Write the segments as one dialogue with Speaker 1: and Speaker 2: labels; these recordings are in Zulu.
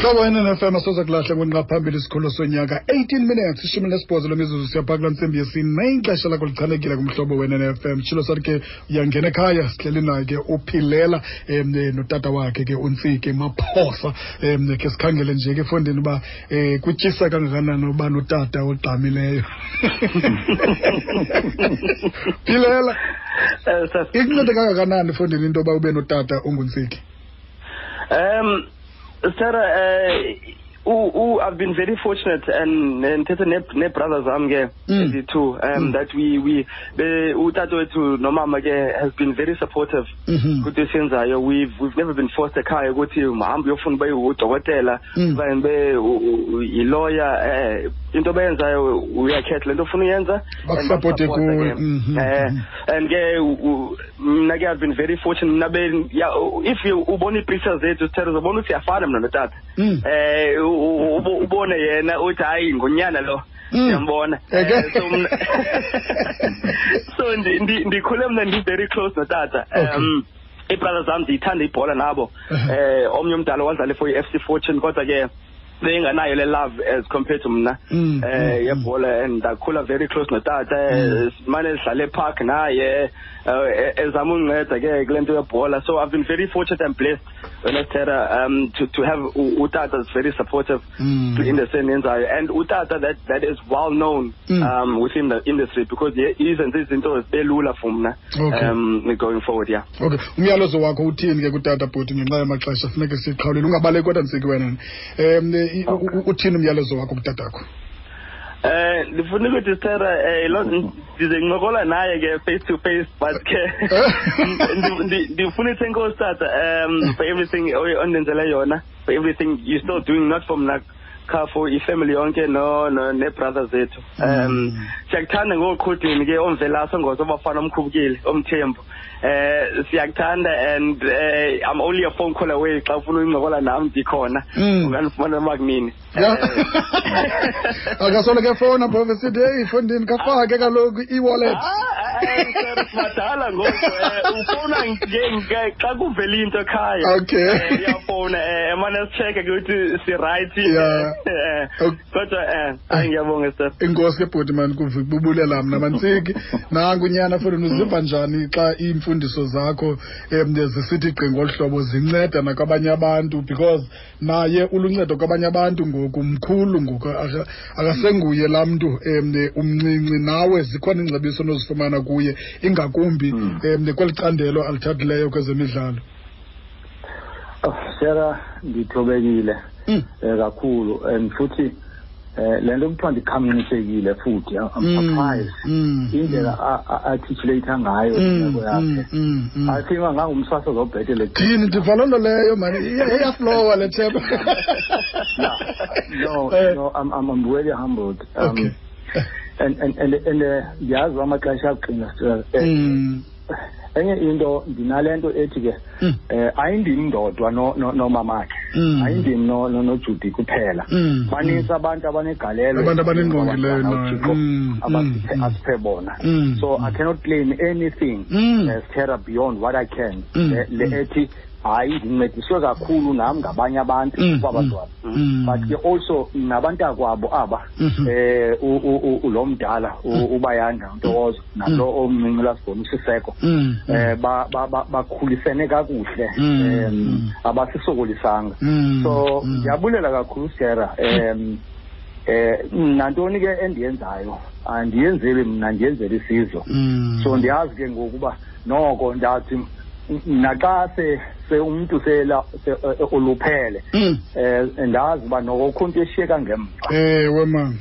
Speaker 1: hlobo yenenfm asoza kulahla kwenqaphambili isikhulu sonyaka 18 minutes ishumi nesibhozo lemizuzu siyapha kula ntsimbi yesine ixesha lakho lichanekile kumhlobo wenenfm tshilo sathi ke uyangena ekhaya sihleli naye ke uphilela um notata wakhe ke untsike maphosa um ke sikhangele nje ke efondini uba um kutyisa kangakanani uba notata ogqamileyo philela
Speaker 2: Eh, sir.
Speaker 1: ikuncede kangakanani efondini into yoba ube notata onguntsiki
Speaker 2: Um, sir, uh, u, u, I've been very fortunate and and thethe ne, ne brothers am ke
Speaker 1: Mm.
Speaker 2: the two um
Speaker 1: Mm.
Speaker 2: that we we be utato wethu nomama ke has been very supportive
Speaker 1: Mhm.
Speaker 2: kuthi esiyenzayo we've we've never been forced ekhaya ukuthi mhambi uyofuna ube udokotela
Speaker 1: Mm.
Speaker 2: okanye ube u- u- yilawyer eh into bayenzayo uyakhetha lento ofuna uyenza and
Speaker 1: Bakusupporte
Speaker 2: bakusupporta
Speaker 1: kuwe.
Speaker 2: ke.
Speaker 1: Mhm.
Speaker 2: Eh,
Speaker 1: Mhm.
Speaker 2: and ke u- u- mna ke i've been very fortunate mna be ya u- if you ubona ii-pictures zethu sithele uzobona ukuthi siyafana mna notata
Speaker 1: Mm.
Speaker 2: eh u- u- ubo- ubone yena uthi hayi ngunyana lo
Speaker 1: Mm.
Speaker 2: ndiyambona
Speaker 1: Okay.
Speaker 2: Eh, so mna so ndi- ndi- ndikhule mna ndi very close notata um iibrother zam ndiyithanda ibhola nabo
Speaker 1: Uh-huh.
Speaker 2: eh omnye umdala wadlala for i-f c fortune kodwa ke beyinganayo le love as compared to mna
Speaker 1: Mm,
Speaker 2: eh
Speaker 1: mm,
Speaker 2: yebhola and ndakhula very close notata eh,
Speaker 1: Mm-hmm.
Speaker 2: simane sidlale epark naye eh, ezama undinceda ke kule nto yebhola so i've been very fortunate and blessed wenestera um to, to have u- utata is very supportive
Speaker 1: Mm.
Speaker 2: to industry enenzayo and utata that, that is well known
Speaker 1: Mm.
Speaker 2: um within the industry because izenze izinto zibelula for mna
Speaker 1: Okay.
Speaker 2: um going forward yeah
Speaker 1: okay umyalezo wakho uthini ke kutata bhuti ngenxa yamaxesha funeke siqhawulile ungabaleki kodwa ndisiki wena um e, i- u- u- uthini umyalezo wakho kutatakho
Speaker 2: Eh ndifuna ukuthi Sarah eh lo ndize ngincokola naye ke face to face but ke ndi- ndi- ndifuna ukuthi enkosi tata um for everything oy- ondenzele yona for everything you still doing not from like for ifamily yonke no no ne brothers zethu um
Speaker 1: Mm.
Speaker 2: siyakuthanda ngoqhudini ke omvelaso ngozo bafana omkhubukile omthembu eh siyakuthanda and eh, I'm only a phone call away xa ufuna ukuncokola nami ndikhona
Speaker 1: Mm.
Speaker 2: unganifumana makunini
Speaker 1: Ya.
Speaker 2: Eh,
Speaker 1: akasoloko efowuna phofu esithi heyi efondini kafake kaloku i-wallet
Speaker 2: Ah, ah, ah, madala ngoku um ufowuna nge- nge- xa kuvela into ekhaya
Speaker 1: Okay.
Speaker 2: Eh, uyafowuna um emane sitshekhe ke ukuthi sirayithi
Speaker 1: Yeah. Ok.
Speaker 2: kodwa um hayi ngiyabonga sir
Speaker 1: inkosi ke bhuti mani kububulela mna mantsiki nangu unyana fondini uziva njani xa iimfundiso zakho um zisithi gqi ngolu hlobo zinceda nakwabanye abantu because naye uluncedo kwabanye abantu ngoku mkhulu ngoku aka- akasenguye laa mntu um umncinci nawe zikhona iingcebiso onozifumana kuye ingakumbi
Speaker 3: Hmm.
Speaker 1: um kweli candelo alithathileyo kwezemidlalo
Speaker 3: Oh, Sarah ngithobekile
Speaker 1: Mm.
Speaker 3: eh, kakhulu and futhi eh lento kuthiwa ndikhamunisekile futhi I'm- I'm
Speaker 1: Mm,
Speaker 3: surprised
Speaker 1: mm,
Speaker 3: indlela a- a- articulate ngayo
Speaker 1: Mm,
Speaker 3: imeko
Speaker 1: mm,
Speaker 3: yakhe
Speaker 1: mm, mm.
Speaker 3: I think ngangumswaso zobhetele
Speaker 1: ndini ndiva loo nto leyo mani iyaflowa le theko
Speaker 3: no
Speaker 1: Eh,
Speaker 3: no I'm I'm, I'm really humbled um
Speaker 1: okay
Speaker 3: and and and and eh, ndiyazi amaxesha aqina Sarah. Eh,
Speaker 1: Mm,
Speaker 3: enye into ndinalento ethi ke
Speaker 1: mm,
Speaker 3: eh ayindim ndodwa no no nomamakhe
Speaker 1: Mm.
Speaker 3: ayindim no no nojudi kuphela
Speaker 1: Mm.
Speaker 3: banintsi abantu abanegalelo
Speaker 1: Abantu abanengqongileyo
Speaker 3: Abantwana
Speaker 1: nayo.
Speaker 3: uThixo
Speaker 1: Mm.
Speaker 3: abasiphe-
Speaker 1: Mm.
Speaker 3: asiphe bona
Speaker 1: Mm.
Speaker 3: so i
Speaker 1: Mm.
Speaker 3: cannot claim anything
Speaker 1: Mm.
Speaker 3: as terra beyond what i can
Speaker 1: Mm.
Speaker 3: Le- le
Speaker 1: Mm.
Speaker 3: ethi hayi ndincediswe kakhulu nam ngabanye abantu
Speaker 1: Mm.
Speaker 3: kwaba bantwana
Speaker 1: Mm.
Speaker 3: but ke also nabantakwabo aba
Speaker 1: Mhm.
Speaker 3: eh u- u- u- ulo mdala u- ubayanda ntokozo nalo omncinci lasibona usiseko
Speaker 1: Mm.
Speaker 3: eh ba ba- ba- bakhulisene kakuhle
Speaker 1: Mm,
Speaker 3: em
Speaker 1: mm.
Speaker 3: abasisokolisanga
Speaker 1: Mm,
Speaker 3: so
Speaker 1: mm.
Speaker 3: ndiyabulela kakhulu Sarah em eh nantoni ke endiyenzayo andiyenzeli mna ndiyenzela isizwe
Speaker 1: Mm.
Speaker 3: so ndiyazi ke ngokuba noko ndathi naxa se se umuntu sela se- eh, oluphele
Speaker 1: Mm.
Speaker 3: eh ndazi uba noko khonto eshiyeka ngemva
Speaker 1: ewe mani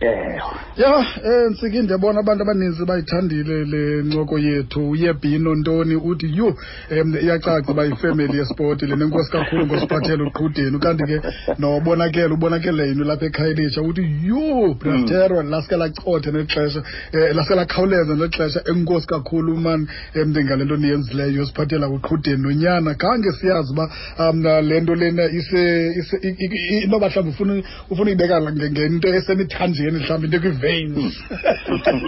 Speaker 3: eh
Speaker 1: ya um ntsiki ndiyabona abantu abaninzi bayithandile le ncoko yethu uyebhino ntoni uthi yhu um iyacaca uba yifemeli yespoti le nenkosi kakhulu ngosiphathela uqhudeni ukanti ke nobonakele ubonakele yini lapha ekhayelitsha uthi yhu brastero laske lacothe nexesha um laske lakhawuleza nexesha enkosi kakhulu mani um ngale nto niyenzileyo yosiphathela uqhudeni nonyana khange siyazi uba um le nto lena ise- ise- i- i- i- inoba mhlawumbi ufuna ufuna uyibeka nge- ngento esemitha emithanjeni mhlawumbi into kwi-veins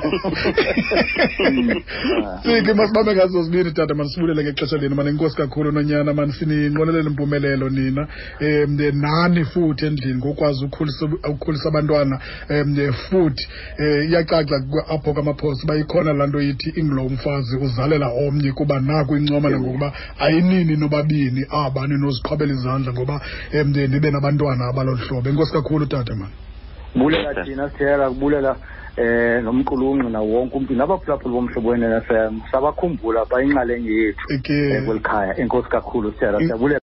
Speaker 1: siki masibambe ngazo zibini tata manisibulele ngexesha lenu mani inkosi kakhulu nonyana mani sininqwenelela impumelelo nina um nani futhi endlini ngokwazi ukukhulisa ukukhulisa abantwana um futhi um iyacaca apho kwamaphosi uba ikhona laa nto ithi ingulo umfazi uzalela omnye kuba naku incoma nangokuba ayinini nobabini aba ninoziqhwabela izandla ngoba um nibe nabantwana abalolu hlobo enkosi kakhulu tata mani
Speaker 3: bulela thina sithera kubulela eh nomqulunqi nawo wonke umntu nabaphulaphula bomhlobo wenene-fm sabakhumbula bayinxalenye yethu
Speaker 1: Eke.
Speaker 3: eh, kweli khaya enkosi kakhulu sithera siyabulela